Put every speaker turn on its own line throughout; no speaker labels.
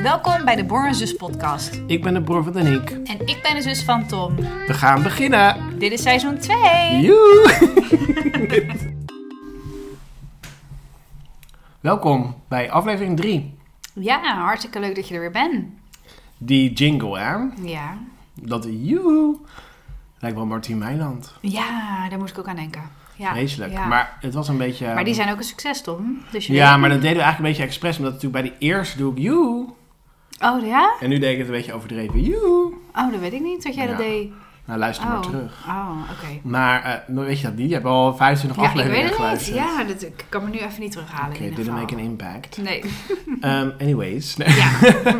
Welkom bij de Broer en Zus podcast.
Ik ben de broer van Daniek.
En ik ben de zus van Tom.
We gaan beginnen.
Dit is seizoen 2.
Joe! Welkom bij aflevering 3.
Ja, hartstikke leuk dat je er weer bent.
Die jingle, hè?
Ja.
Dat joe! Lijkt wel Martien Meiland.
Ja, daar moest ik ook aan denken. Ja.
Vreselijk.
Ja.
Maar het was een beetje...
Maar die zijn ook een succes, Tom. Dus je
Ja,
weet-
maar dat deden we eigenlijk een beetje expres. Omdat natuurlijk bij de eerste doe ik joe.
Oh ja?
En nu deed ik het een beetje overdreven. Joe!
Oh, dat weet ik niet dat jij dat
Ja.
deed.
Nou, luister
Oh,
maar terug.
oh oké.
Maar eh, maar weet je dat niet? Je hebt al 25
Ja, ik
afleveringen
weet het niet.
geluisterd.
Ja, dat, ik kan me nu even niet terughalen.
Oké,
in ieder
didn't
geval. Hm.
make an impact.
Nee,
Um, anyways. Nee.
ja.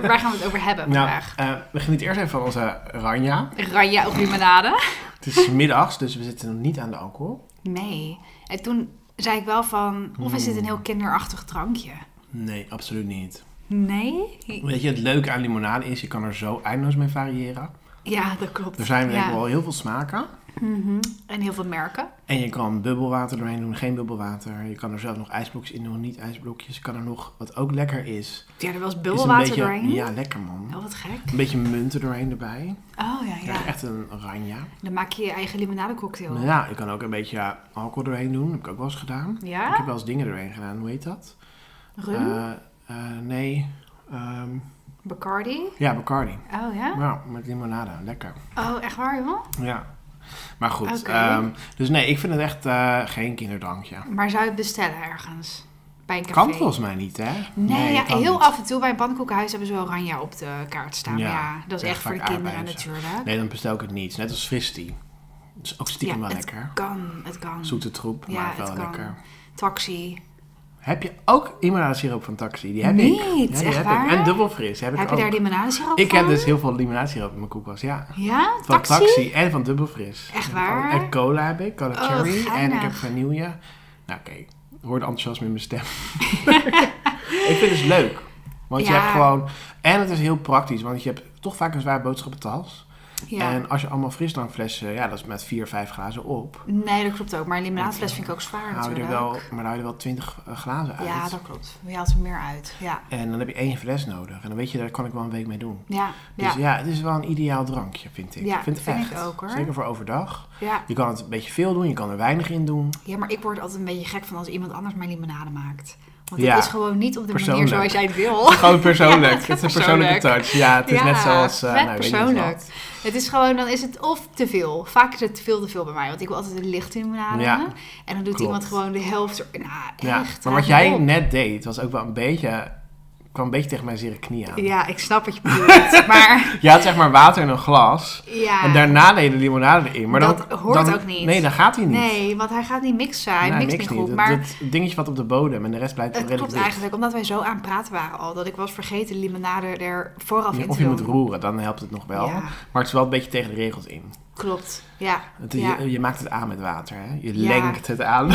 Waar gaan we het over hebben
Nou,
vandaag?
eh, we genieten eerst even van onze Ranja.
Ranja op limonade?
Het is middags, dus we zitten nog niet aan de alcohol.
Nee. En toen zei ik wel van, of is dit een heel kinderachtig drankje?
Nee, absoluut niet.
Nee?
Weet je, het leuke aan limonade is, je kan er zo eindeloos mee variëren.
Ja, dat klopt.
Er zijn
ja.
ja. wel heel veel smaken.
Mhm. En heel veel merken.
En je kan bubbelwater doorheen doen, geen bubbelwater. Je kan er zelf nog ijsblokjes in doen, niet ijsblokjes. Je kan er nog, wat ook lekker is,
Ja, er was
is een
bubbelwater
beetje...
doorheen.
Ja, lekker man.
Oh, wat gek.
Een beetje munten doorheen erbij.
Oh ja,
Je krijgt
ja.
echt een oranje.
Dan maak je je eigen limonadecocktail.
Maar
Ja?
ja, je kan ook een beetje alcohol doorheen doen. heb ik ook wel eens gedaan. Ik heb wel eens dingen doorheen gedaan. Hoe heet dat?
Rum?
Eh, eh, nee. Ehm,
Bacardi?
ja, Bacardi.
Oh ja?
Ja, met limonade. Lekker.
Oh, echt waar, joh?
Ja. Maar goed.
Oké.
ehm, dus nee, ik vind het echt eh, geen kinderdrankje.
Maar zou je het bestellen ergens? Bij een café?
Kan volgens mij niet, hè?
Nee, ja,
kan
heel
niet.
af en toe bij een pannenkoekenhuis hebben ze wel oranje op de kaart staan. Ja,
Ja,
dat is
echt
echt voor de
vaak
kinderen
aardbeien,
natuurlijk.
Nee, dan bestel ik het niet. Net als fristie. Dat is ook stiekem
Ja,
wel
het
lekker.
Kan, het kan.
Zoete troep,
Ja,
maar
het
wel
kan.
lekker.
Taxi.
Heb je ook limonade siroop van Taxi? Die heb
Niet,
ik. Ja, die
echt
heb ik.
waar?
En dubbelfris heb ik
Heb je
ook.
daar limonadesiroop
ik
van?
heb dus heel veel limonade siroop in mijn koelkast, ja.
Ja?
Van
Taxi?
taxi? en van dubbelfris.
Echt
En
waar?
van- En cola heb ik, cola
Oh,
cherry. en
geinig.
ik heb vanille. Nou, oké. Hoor de enthousiasme in mijn stem. ik vind het dus leuk. Want je
Ja.
hebt gewoon... En het is heel praktisch, want je hebt toch vaak een zware boodschappentas.
Ja.
En als je allemaal frisdrankflessen... Ja, dat is met vier, vijf glazen op.
Nee, dat klopt ook. Maar een limonadefles vind ik ook zwaar
Hou je
natuurlijk.
er wel, maar dan hou je er wel twintig eh, glazen uit.
Ja, dat klopt. Je haalt er meer uit. Ja.
En dan heb je één fles nodig. En dan weet je, daar kan ik wel een week mee doen.
Ja,
Dus
ja,
ja, het is wel een ideaal drankje, vind ik.
Ja,
ik vind het
dat vind
echt.
ik ook, hoor.
Zeker voor overdag.
ja.
Je kan het een beetje veel doen, je kan er weinig in doen.
Ja, maar ik word altijd een beetje gek van als iemand anders mijn limonade maakt. Want het
Ja,
is gewoon niet op de manier
persoonlijk.
zoals jij het wil.
Het is gewoon persoonlijk.
Ja,
het is een persoonlijke touch. Ja, het is
Ja,
net zoals... eh,
vet
nou, ik weet niet
persoonlijk.
wat.
Het is gewoon, dan is het of te veel. Vaak is het veel te veel bij mij, want ik wil altijd een licht limonade.
Ja,
en dan doet
klopt.
iemand gewoon de helft. Er, nou,
Ja,
echt.
maar
raak
wat
me
jij
op.
net deed, was ook wel een beetje... kwam een beetje tegen mijn zere knie aan.
Ja, ik snap wat je bedoelt. maar
Je had zeg maar water in een glas.
ja.
En daarna deed je de limonade erin. Maar dan,
Dat hoort
dan-
ook niet.
Nee, dan gaat hij niet.
Nee, want hij gaat niet mixen. Hij
Nee,
mixt
niks
niet goed.
Dat-
Maar
Dat, dingetje wat op de bodem en de rest blijft
Het
redelijk
klopt
dicht.
eigenlijk, omdat wij zo aan het praten waren al, dat ik was vergeten de limonade er vooraf
Ja,
in te
of je moet
doen.
roeren, dan helpt het nog wel.
Ja.
Maar het is wel een beetje tegen de regels in.
Klopt, ja.
Het-
ja.
je, je maakt het aan met water, hè? Je
Ja.
lengt het aan.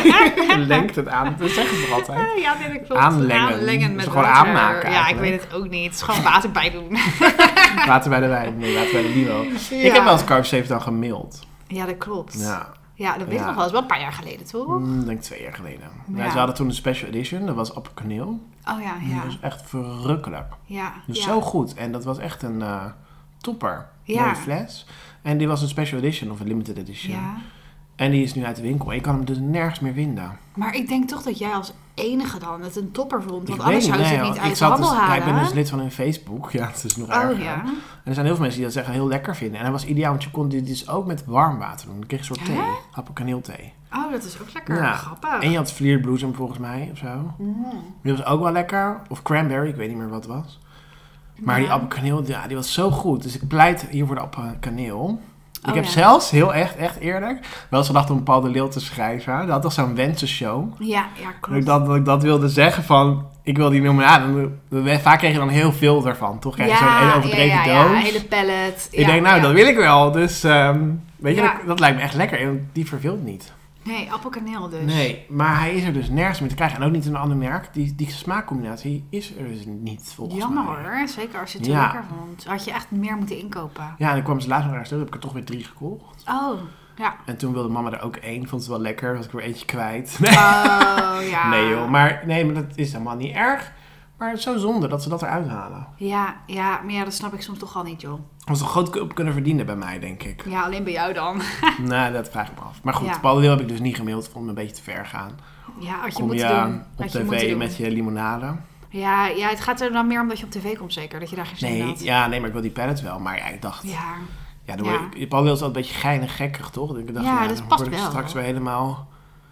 je lengt het aan. Dat zeggen ze toch altijd.
Ah, ja, dit klopt.
Aanlengen.
Aanlengen
Dus
met
gewoon
water.
aanmaken
Ja, ik
eigenlijk.
weet het ook niet. Het is gewoon water bij doen.
Water bij de wijn, nee, water bij de limo. Ik
Ja.
heb wel eens Carb Safe dan gemaild.
Ja, dat klopt. Ja,
Ja,
dat weet ik
Ja.
nog wel. Dat is wel een paar jaar geleden, toch?
mm, ik denk twee jaar geleden. Ja,
Ja.
ze hadden toen een special edition, dat was appelkaneel.
Oh ja,
Dat
ja.
was echt verrukkelijk.
Ja,
Dus
ja.
zo goed. En dat was echt een eh, topper.
Ja.
Mooie fles. En die was een special edition of een limited edition.
ja.
En die is nu uit de winkel. En je kan hem dus nergens meer vinden.
Maar ik denk toch dat jij als enige dan het een topper vond. Want
Ik
anders
weet
zou je
nee,
het
joh.
niet
Ik
uit de
zat
handel
dus- ja,
halen.
ik ben dus lid van hun Facebook. Ja, het is nog
oh
erger.
ja.
En er zijn heel veel mensen die dat zeggen heel lekker vinden. En dat was ideaal, want je kon dit dus ook met warm water doen. Dan kreeg je een soort
Hè?
thee. Appelkaneelthee.
Oh, dat is ook lekker.
Ja.
Grappig.
En je had vlierbloesem volgens mij, of zo.
Mm.
Die was ook wel lekker. Of cranberry, ik weet niet meer wat het was. Maar die
Ja.
appelkaneel, ja, die was zo goed. Dus ik pleit hier voor de appelkaneel. Ik
Oh,
heb
ja.
zelfs, heel echt, echt eerlijk, wel eens gedacht om Paul de Leeuw te schrijven. Dat had toch zo'n wensenshow.
Ja, ja,
Dat ik
klopt.
dat, dat ik dat wilde zeggen van, ik wil die limonade. En Vaak kreeg je dan heel veel daarvan, toch? Krijg je zo'n hele overdreven
ja, ja,
doos.
een hele pallet.
ik denk, nou,
ja.
dat wil ik wel. Dus, ehm, weet je,
Ja.
dat, dat lijkt me echt lekker. En die verveelt niet.
Nee, appelkaneel dus.
Nee, maar hij is er dus nergens meer te krijgen. En ook niet in een ander merk. Die, die smaakcombinatie is er dus niet, volgens
Jammer
mij.
hoor, zeker als je het zo
Ja.
lekker vond. Had je echt meer moeten inkopen.
Ja, en dan kwam ze laatst nog ergens terug. Heb ik er toch weer drie gekocht.
Oh, ja.
En toen wilde mama er ook één. Vond ze wel lekker. Was ik er weer eentje kwijt. Nee,
Oh, ja.
nee joh. Maar, nee, maar dat is helemaal niet erg. Maar het is zo zonde dat ze dat eruit halen.
Ja, ja, maar ja, dat snap ik soms toch al niet, joh.
Dat ze er goed op kunnen verdienen bij mij, denk ik.
Ja, alleen bij jou dan.
nou, dat vraag ik me af. Maar goed,
Ja.
Paul de Leeuw heb ik dus niet gemaild. Vond me een beetje te ver gaan.
Ja, had je
Kom
moeten
je
doen.
aan op
Had je moeten
tv
doen.
met je limonade?
Ja, ja, het gaat er dan meer om dat je op tv komt zeker. Dat je daar geen zin in
Nee,
had.
ja, nee, maar ik wil die pallet wel. Maar ja, ik dacht...
Ja.
Ja, dan word
Ja.
je- je Paul de Leeuw is altijd een beetje geinig gekkig, toch? Ik dacht,
Ja,
ja,
dat
dan
past
word ik
wel.
straks weer helemaal...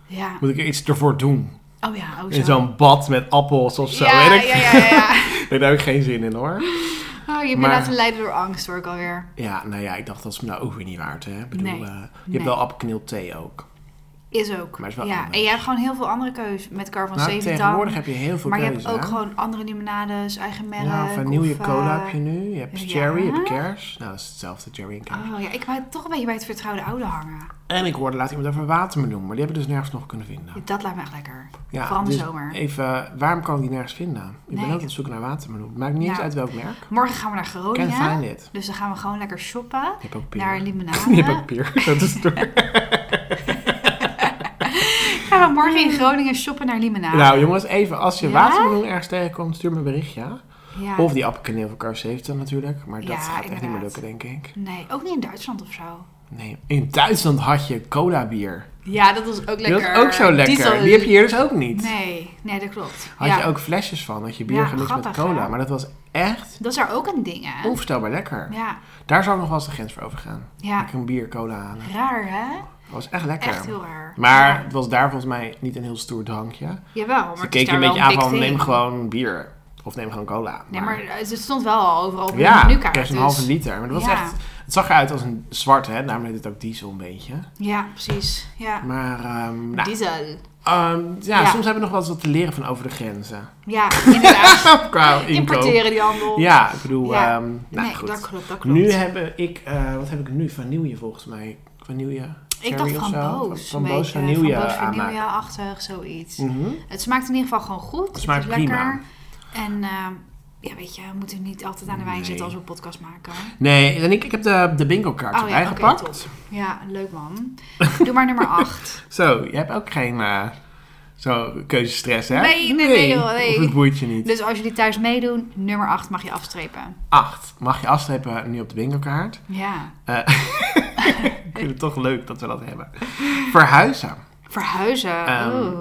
ja.
Moet ik er iets ervoor doen?
Oh ja, oh zo.
In zo'n bad met appels of zo.
ja,
weet ik.
ja, ja, ja, ja.
Nee, daar heb ik geen zin in, hoor.
Oh, je bent
Maar-
laten leiden door angst hoor ik alweer.
Ja, nou ja, ik dacht, dat is me nou ook weer niet waard, hè? Ik bedoel,
Nee,
eh, je
nee.
hebt wel appelkneel thee ook.
Is ook.
Maar is wel
ja.
anders.
En jij hebt gewoon heel veel andere keuzes met Car van
Nou,
Zeventam.
tegenwoordig heb je heel veel
Maar je
keuze,
hebt ook
hè?
gewoon andere limonades, eigen melk.
Ja, vanille
of, eh,
cola heb je nu. Je hebt
ja.
cherry, je hebt kers. Nou, dat is hetzelfde, cherry en kers.
Oh ja, ik wou toch een beetje bij het vertrouwde oude hangen.
En ik hoorde laat iemand even watermeloen, maar die hebben we dus nergens nog kunnen vinden.
Dat lijkt me echt lekker.
Ja,
Vooral in de
dus
zomer.
Even, eh, waarom kan ik die nergens vinden? Ik
Nee.
ben ook aan het zoeken naar watermeloen. Maakt niet
Ja.
eens uit welk merk.
Morgen gaan we naar
Can't
Groningen.
find it.
Dus dan gaan we gewoon lekker shoppen.
Je hebt ook
Naar
peer.
limonade.
Je hebt ook peer. Dat is door.
Gaan we morgen in Groningen shoppen naar limonade.
Nou jongens, even. Als je
Ja?
watermeloen ergens tegenkomt, stuur me een berichtje. ja?
ja.
Of die appelkaneel van Cars 70 natuurlijk. Maar dat
Ja,
gaat echt niet meer
inderdaad.
lukken, denk ik.
Nee, ook niet in Duitsland of zo.
Nee. In Duitsland had je cola bier.
Ja, dat was ook lekker.
Dat is ook zo lekker. Die,
zal-
heb je hier dus ook niet.
Nee, nee, dat klopt.
Had
ja.
je ook flesjes van, had je bier
Ja,
gemixt met
grappig,
cola.
hè?
Maar dat was echt
Dat is daar ook een ding, hè?
onvoorstelbaar lekker.
Ja,
Daar zou ik nog wel eens de grens voor overgaan.
ja.
Ik een bier cola halen.
Raar, hè?
Dat was echt lekker.
Echt heel raar.
Maar
Ja.
het was daar volgens mij niet een heel stoer drankje.
Jawel, maar
Ze
het is
keken een
daar
beetje
wel
aan van
big
neem
thing.
gewoon bier. Of neem gewoon cola.
Nee, maar het stond wel al overal op de
ja,
menukaart.
kreeg een
dus-
halve liter. Maar dat was
Ja.
echt, het zag eruit als een zwart, hè. Daarom heet het ook diesel een beetje.
Ja, precies. Ja.
Maar ehm, nou,
Diesel.
ehm, ja,
Ja.
soms hebben we nog wel eens wat te leren van over de grenzen.
Ja, inderdaad.
Qua inkoop.
Importeren die handel.
Ja, ik bedoel,
Ja.
ehm, nou
nee,
goed.
dat klopt, dat klopt.
Nu heb ik, eh, wat heb ik nu? Vanille volgens mij. Vanille?
ik dacht
cherry of
van
zo?
boos.
Van- Framboos vanille aanmaken.
achtig zoiets.
Mhm.
Het smaakt in ieder geval gewoon goed. Het
smaakt
is lekker.
prima.
En ehm, ja, weet je, we moeten niet altijd aan de wijn
Nee.
zitten als we een podcast maken.
Nee, en ik, ik heb de, de bingo kaart
Oh ja,
erbij
oké,
gepakt.
top. Ja, leuk man. Doe maar nummer 8.
Zo, je hebt ook geen eh, zo keuzestress, hè?
Nee, nee, nee, joh, nee.
Of het boeit je niet.
Dus als jullie thuis meedoen, nummer 8 mag je afstrepen.
8. Mag je afstrepen nu op de bingo kaart?
Ja.
Ik vind het toch leuk dat we dat hebben. Verhuizen.
Verhuizen.
Ehm,
Oeh.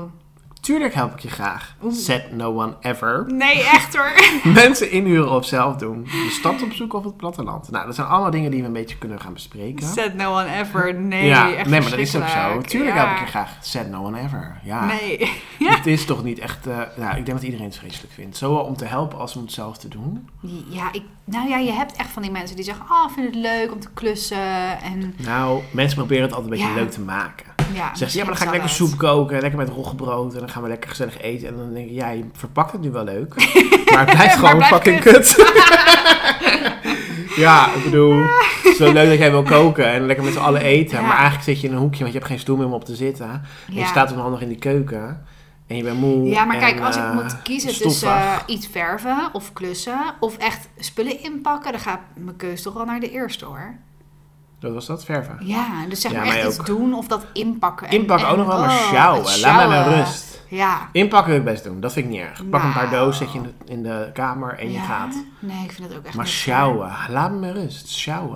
Tuurlijk help ik je graag.
Oeh.
Said no one ever.
Nee, echt hoor.
Mensen inhuren of zelf doen. De stad opzoeken of het platteland. Nou, dat zijn allemaal dingen die we een beetje kunnen gaan bespreken.
Set no one ever. Nee,
ja,
echt
nee, maar dat is ook zo.
verschrikkelijk.
Tuurlijk
Ja.
help ik je graag. Said no one ever. Ja.
Nee.
Het is toch niet echt... eh, nou, ik denk dat iedereen het vreselijk vindt. Zowel om te helpen als om het zelf te doen.
Ja, ik, nou ja, je hebt echt van die mensen die zeggen, ah, ik vind het leuk om te klussen. En
Nou, mensen proberen het altijd een beetje
Ja.
leuk te maken.
ja,
Zeggen ze, ja, maar dan ga ik lekker soep koken, en lekker met roggebrood en dan gaan we lekker gezellig eten. En dan denk ik, ja, je verpakt het nu wel leuk, maar het blijft gewoon
Maar blijft
fucking kut. ja, ik bedoel, het is wel leuk dat jij wil koken en lekker met z'n allen eten,
Ja.
maar eigenlijk zit je in een hoekje, want je hebt geen stoel meer om op te zitten. En je
Ja.
staat dan handig in die keuken en je bent moe.
Ja, maar
en,
kijk, als ik
eh,
moet kiezen
stoffig.
tussen eh, iets verven of klussen of echt spullen inpakken, dan gaat mijn keuze toch wel naar de eerste hoor.
Wat was dat? Verven?
Ja, dus zeg
Ja,
maar
mij
echt
ook.
iets doen of dat inpakken. En-
Inpakken
en-
ook nog wel, maar
oh, het
sjouwen. Laat mij maar
sjouwen.
rust.
Ja.
Inpakken wil ik best doen, dat vind ik niet erg. Pak een paar
Nou.
dozen, zet je in de, in de kamer en je
Ja.
gaat.
Nee, ik vind dat ook echt
Maar
niet
sjouwen, laat me met rust, sjouwen. Ah,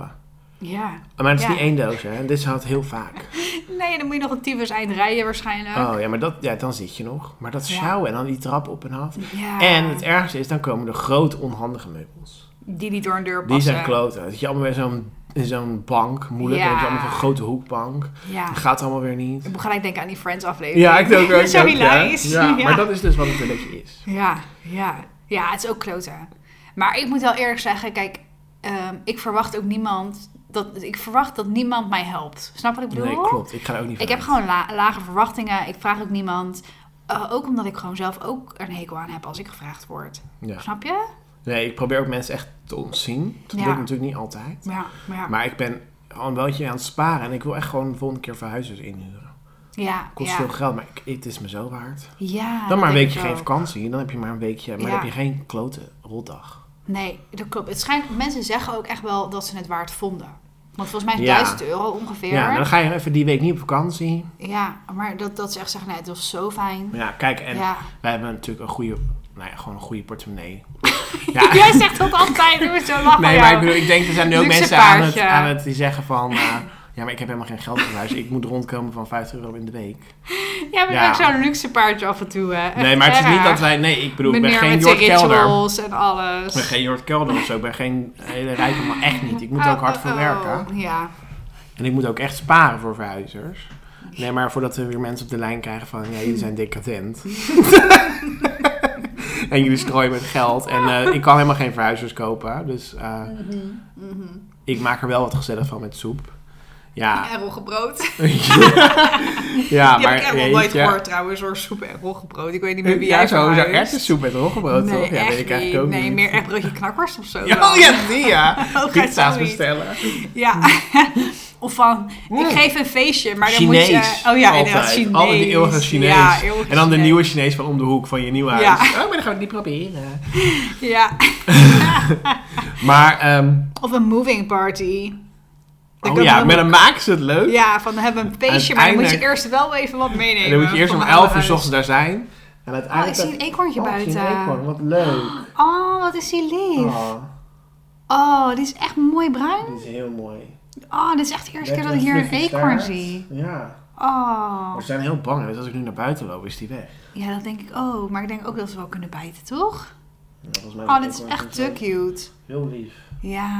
fair. Ja.
Maar het is
Ja.
niet één doos, hè? Dit is altijd heel vaak.
Nee, dan moet je nog een tyfus eind rijden waarschijnlijk.
Oh ja, maar dat, ja, dan zit je nog. Maar dat
Ja.
sjouwen en dan die trap op en af.
Ja.
En het e- ergste is, dan komen de groot onhandige meubels.
Die niet door een deur
Die
passen.
zijn kloten. Dat je allemaal weer zo'n, in zo'n bank, moeilijk.
Ja.
Dan heb je allemaal een grote hoekbank.
Ja.
Dat gaat allemaal weer niet.
Ik moet gelijk denken aan die Friends aflevering.
Ja, ik denk ook.
Zo
ook, ja.
relaxed.
Ja,
Ja.
maar dat is dus wat het een beetje is.
Ja, ja. Ja, het is ook kloten. Maar ik moet wel eerlijk zeggen, kijk, ehm, ik verwacht ook niemand dat ik verwacht dat niemand mij helpt. Snap wat ik bedoel?
Nee, klopt. Ik ga er ook niet van
Ik heb
uit.
gewoon la- lage verwachtingen. Ik vraag ook niemand. Eh, ook omdat ik gewoon zelf ook er een hekel aan heb als ik gevraagd word.
Ja.
Snap je?
Nee, ik probeer ook mensen echt te ontzien. Dat
Ja.
lukt natuurlijk niet altijd.
Ja, maar ja.
Maar ik ben gewoon wel een beetje aan het sparen. En ik wil echt gewoon de volgende keer verhuizers inhuren.
ja,
Kost
ja.
veel geld, maar ik, het is me zo waard.
Ja, dat
Dan maar een
denk
weekje
ik
geen
ook.
vakantie. Dan heb je maar een weekje. Maar dan
Ja.
heb je geen klote rotdag.
Nee, dat klopt. Het schijnt, mensen zeggen ook echt wel dat ze het waard vonden. Want volgens mij is
Ja.
1000 euro ongeveer.
Ja, en dan ga je even die week niet op vakantie.
Ja, maar dat, dat ze echt zeggen, nee, het was zo fijn.
Maar ja, kijk, en
ja,
wij hebben natuurlijk een goede nou ja, gewoon een goede portemonnee.
Jij zegt dat altijd, doe het zo lachen.
Nee,
joh.
maar ik, bedoel, ik denk, er zijn nu ook
Luxe
mensen aan het,
paardje.
aan het die zeggen van... eh, ja, maar ik heb helemaal geen geld in huis. Ik moet rondkomen van 50 euro in de week.
Jij bent
Ja.
ook zo'n luxe paardje af en toe. Hè. Echt
Nee, maar het is niet
erg.
dat wij... Nee, ik bedoel, ik ben
Meneer
geen
met
Jort
zijn
Kelder.
rituals en
Ik
alles.
ben geen Jort Kelder of zo. Ik ben geen hele rijke man. Echt niet. Ik moet
Oh,
ook hard
oh,
voor
oh.
werken.
Ja.
En ik moet ook echt sparen voor verhuizers. Nee, maar voordat we weer mensen op de lijn krijgen van... Ja, jullie zijn decadent. en jullie strooien met geld. En eh, ik kan helemaal geen verhuizers kopen. Dus eh,
Mhm,
ik maak er wel wat gezellig van met soep. Ja,
En roggebrood.
ja,
Die
Ah, maar
heb ik echt nog nooit
jeetje.
gehoord trouwens, hoor. Soep en roggebrood. Ik weet niet meer wie
Ja,
jij
zo, zo
verhuist.
erwtensoep met roggebrood,
Nee,
toch? Ja,
echt
weet ik
niet.
eigenlijk ook
nee,
niet.
meer echt broodje knakkers of zo.
Ja,
dan.
oh ja, die ja.
Oh, ga je
Pizza's
zo niet.
bestellen.
Ja. of van, ik geef een feestje, maar dan moet
Mm. Chinees.
je... Oh ja,
altijd.
inderdaad, Chinees.
Alle die eeuwige Chinees.
Ja, eeuwige
en dan de
Chinees.
nieuwe Chinees van om de hoek van je nieuwe huis.
Ja.
Oh, maar dan gaan we die proberen.
Ja.
Maar, ehm,
Of een moving party. Dan
oh
kan
ja,
het
maar
ook-
dan maken ze het leuk.
Ja, van dan hebben we een feestje, maar dan moet je
Uiteindelijk-
eerst wel even wat meenemen.
En dan moet je eerst
van
om
het oude
11 uur s
huis.
ochtends daar zijn. En
Oh,
uiteindelijk...
ik zie een eekhoortje
Oh, ik zie een eekhoorn,
buiten.
wat leuk.
Oh, wat is die lief.
Oh,
Oh, die is echt mooi bruin.
dit is heel mooi.
Oh, dit is echt de eerste keer
Met
dat ik hier een
fluffy
eekhoorn
staart.
zie.
Ja.
Oh.
Maar Ze zijn heel bang. Dus als ik nu naar buiten loop, is die weg.
Ja, dat denk ik ook. Maar ik denk ook dat ze wel kunnen bijten, toch?
Ja, volgens mij
Oh,
was
dit is
eekhoorn
echt
zo
te cute.
Heel lief.
Ja.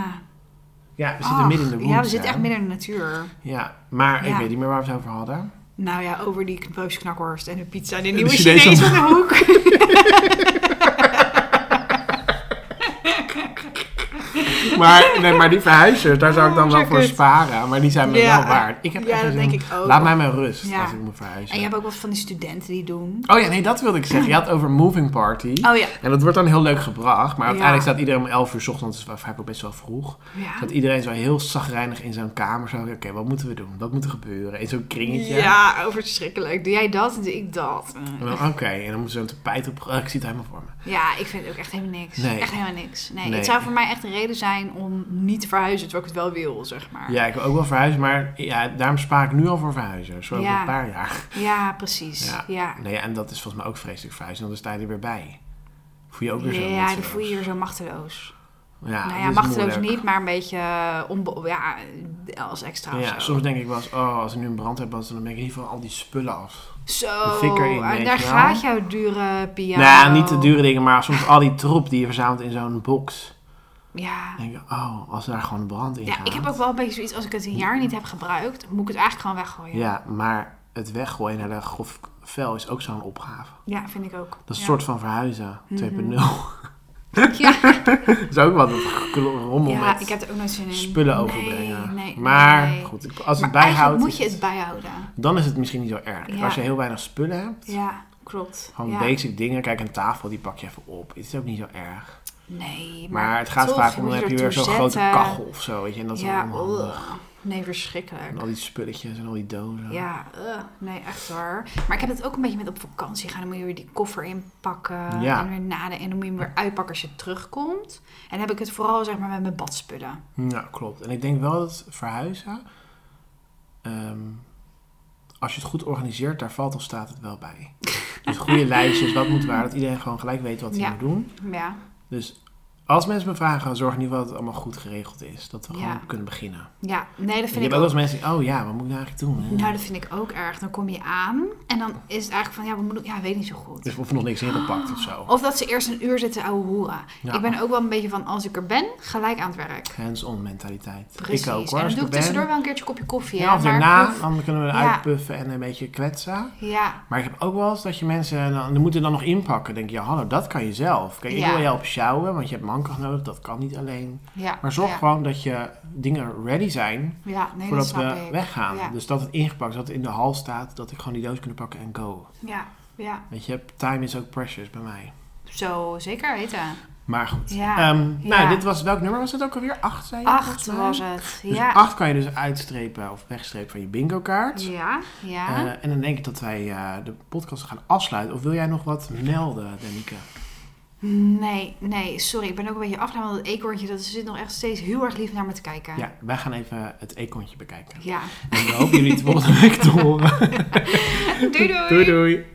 Ja, we zitten
Ach,
midden in de woods.
Oh, Ja, we zitten
hè?
echt midden in de natuur.
Ja, maar ik
Ja.
weet niet meer waar we het over hadden.
Nou ja, over die broodje knakhorst en de pizza en de nieuwe
Chinees
Chinees, van de hoek.
Maar, nee, maar die verhuizers, daar zou ik dan
Oh,
wel
zo
voor
kut.
sparen. Maar die zijn me
Ja.
wel waard. Ik heb
Ja,
echt
dat
zo'n-
denk ik ook.
Laat mij maar rust
Ja.
als ik moet verhuizen.
En je hebt ook wat van die studenten die doen.
Oh ja, nee, dat wilde ik zeggen. Je had over moving party.
Oh ja.
En dat wordt dan heel leuk gebracht. Maar uiteindelijk
Ja. Ah.
staat iedereen om 11 uur 's ochtends, dat is vaak ook best wel vroeg.
Ja.
Staat iedereen zo heel zagrijnig in zo'n kamer. Zo, oké, wat moeten we doen? Wat moet er gebeuren? In zo'n kringetje.
Ja, over verschrikkelijk. Doe jij dat, doe ik dat. Mm.
En dan, Oké, en dan moet zo'n tapijt op. oh, ik zie het helemaal voor me.
Ja, ik vind het ook echt helemaal niks.
Nee.
Echt helemaal niks. Nee,
Nee.
het zou voor mij echt een reden zijn om niet te verhuizen, terwijl ik het wel wil, zeg maar.
Ja, ik wil ook wel verhuizen, maar ja, daarom spaar ik nu al voor verhuizen. Zo over
Ja.
een paar jaar.
Ja, precies.
Ja.
Ja,
Nee, en dat is volgens mij ook vreselijk verhuizen, want dan sta je er weer bij. Voel je ook
ja,
weer zo
dan
nutteloos.
voel je je zo machteloos.
Ja,
nou
dat
ja,
is
machteloos
moeilijk.
niet, maar een beetje eh, onbe- ja, als extra of
Ja,
zo.
soms denk ik wel eens, oh, als ik nu een brand heb, dan ben ik in ieder geval al die spullen af.
Zo,
fik erin,
en
weet
daar
je wel.
gaat jouw dure piano.
Nou, niet de dure dingen, maar soms al die troep die je verzamelt in zo'n box.
Ja.
Dan denk ik, oh, als daar gewoon een brand in
ja,
gaat.
ik heb ook wel een beetje zoiets, als ik het een jaar niet heb gebruikt, moet ik het eigenlijk gewoon weggooien.
Ja, maar het weggooien naar de grof vuil is ook zo'n opgave.
Ja, vind ik ook.
Dat
ja.
is
Mhm.
een soort van verhuizen, 2.0.
Ja.
dat is ook wat rommel
Ja,
met
ik heb er ook nooit zin in.
spullen
Nee,
overbrengen.
nee,
maar
nee.
goed, ik- als
Maar
het bijhoudt,
eigenlijk moet je het bijhouden.
dan is het misschien niet zo erg.
Ja.
Als je heel weinig spullen hebt,
Ja, klopt.
gewoon
ja.
basic dingen. Kijk, een tafel, die pak je even op. Het is ook niet zo erg.
Nee, maar,
Maar het gaat
toch,
vaak
je
om,
moet
dan
je
heb je weer zo'n
ertoe
grote
zetten.
kachel of zo, weet je. En dat is
Ja,
allemaal handig.
ugh. nee,
En
verschrikkelijk.
al die spulletjes en al die dozen.
Ja, ugh, nee, echt waar. Maar ik heb het ook een beetje met op vakantie gaan. Dan moet je weer die koffer inpakken
Ja.
en weer naden. En dan moet je hem weer uitpakken als je terugkomt. En dan heb ik het vooral zeg maar met mijn badspullen.
Ja, klopt. En ik denk wel dat verhuizen, ehm, als je het goed organiseert, daar valt of staat het wel bij. Dus goede lijstjes, wat moet waar, dat iedereen gewoon gelijk weet wat hij
Ja.
moet doen.
Ja,
Dus als mensen me vragen, zorg in ieder geval dat het allemaal goed geregeld is. Dat we
Ja.
gewoon kunnen beginnen.
ja. nee, dat
Je
vind
hebt
ik
ook wel
ook.
eens mensen die, oh ja, wat moet ik nou eigenlijk doen? hè?
Nou, dat vind ik ook erg. Dan kom je aan en dan is het eigenlijk van, ja, we moeten, ja, ik weet niet zo goed.
Dus of nog niks ingepakt of zo.
Of dat ze eerst een uur zitten ouwe hoeren.
Ja.
Ik ben ook wel een beetje van, als ik er ben, gelijk aan het werk.
Hands-on mentaliteit.
Precies.
Ik ook
en
hoor,
dan
als ik
doe
er
ik tussendoor
ben.
wel een keertje een kopje koffie.
Ja,
hè,
of
maar ik
daarna,
hoef-
dan kunnen we
Ja.
uitpuffen en een beetje kwetsen.
Ja,
Maar ik heb ook wel eens dat je mensen eh, dan, die moeten dan nog inpakken. denk je, ja, hallo, dat kan je zelf. Kijk, ik
Ja.
wil je helpen sjouwen, want je hebt mankracht nodig, dat kan niet alleen.
ja.
Maar zorg
ja.
gewoon dat je dingen ready zijn
Ja, nee, dat
voordat
snap
we
ik.
weggaan.
Ja.
Dus dat het ingepakt is, dat het in de hal staat, dat ik gewoon die doos kunnen pakken en go.
Ja, ja.
Weet je, time is ook precious bij mij.
Zo, zeker weten.
Maar goed.
Ja.
Ehm,
Ja.
Nou, dit was, welk nummer was het ook alweer? Acht, zei je?
Acht
volgens mij?
was het.
Dus
Ja.
acht kan je dus uitstrepen of wegstrepen van je bingo kaart.
Ja, ja.
Eh, en dan denk ik dat wij eh, de podcast gaan afsluiten. Of wil jij nog wat melden, Danieke?
nee, nee, sorry. Ik ben ook een beetje afgeleid, want dat eekhoortje dat zit nog echt steeds heel erg lief naar me te kijken.
Ja, wij gaan even het eekhontje bekijken.
Ja.
En we hopen jullie het volgende week te horen.
Doei doei.
doei.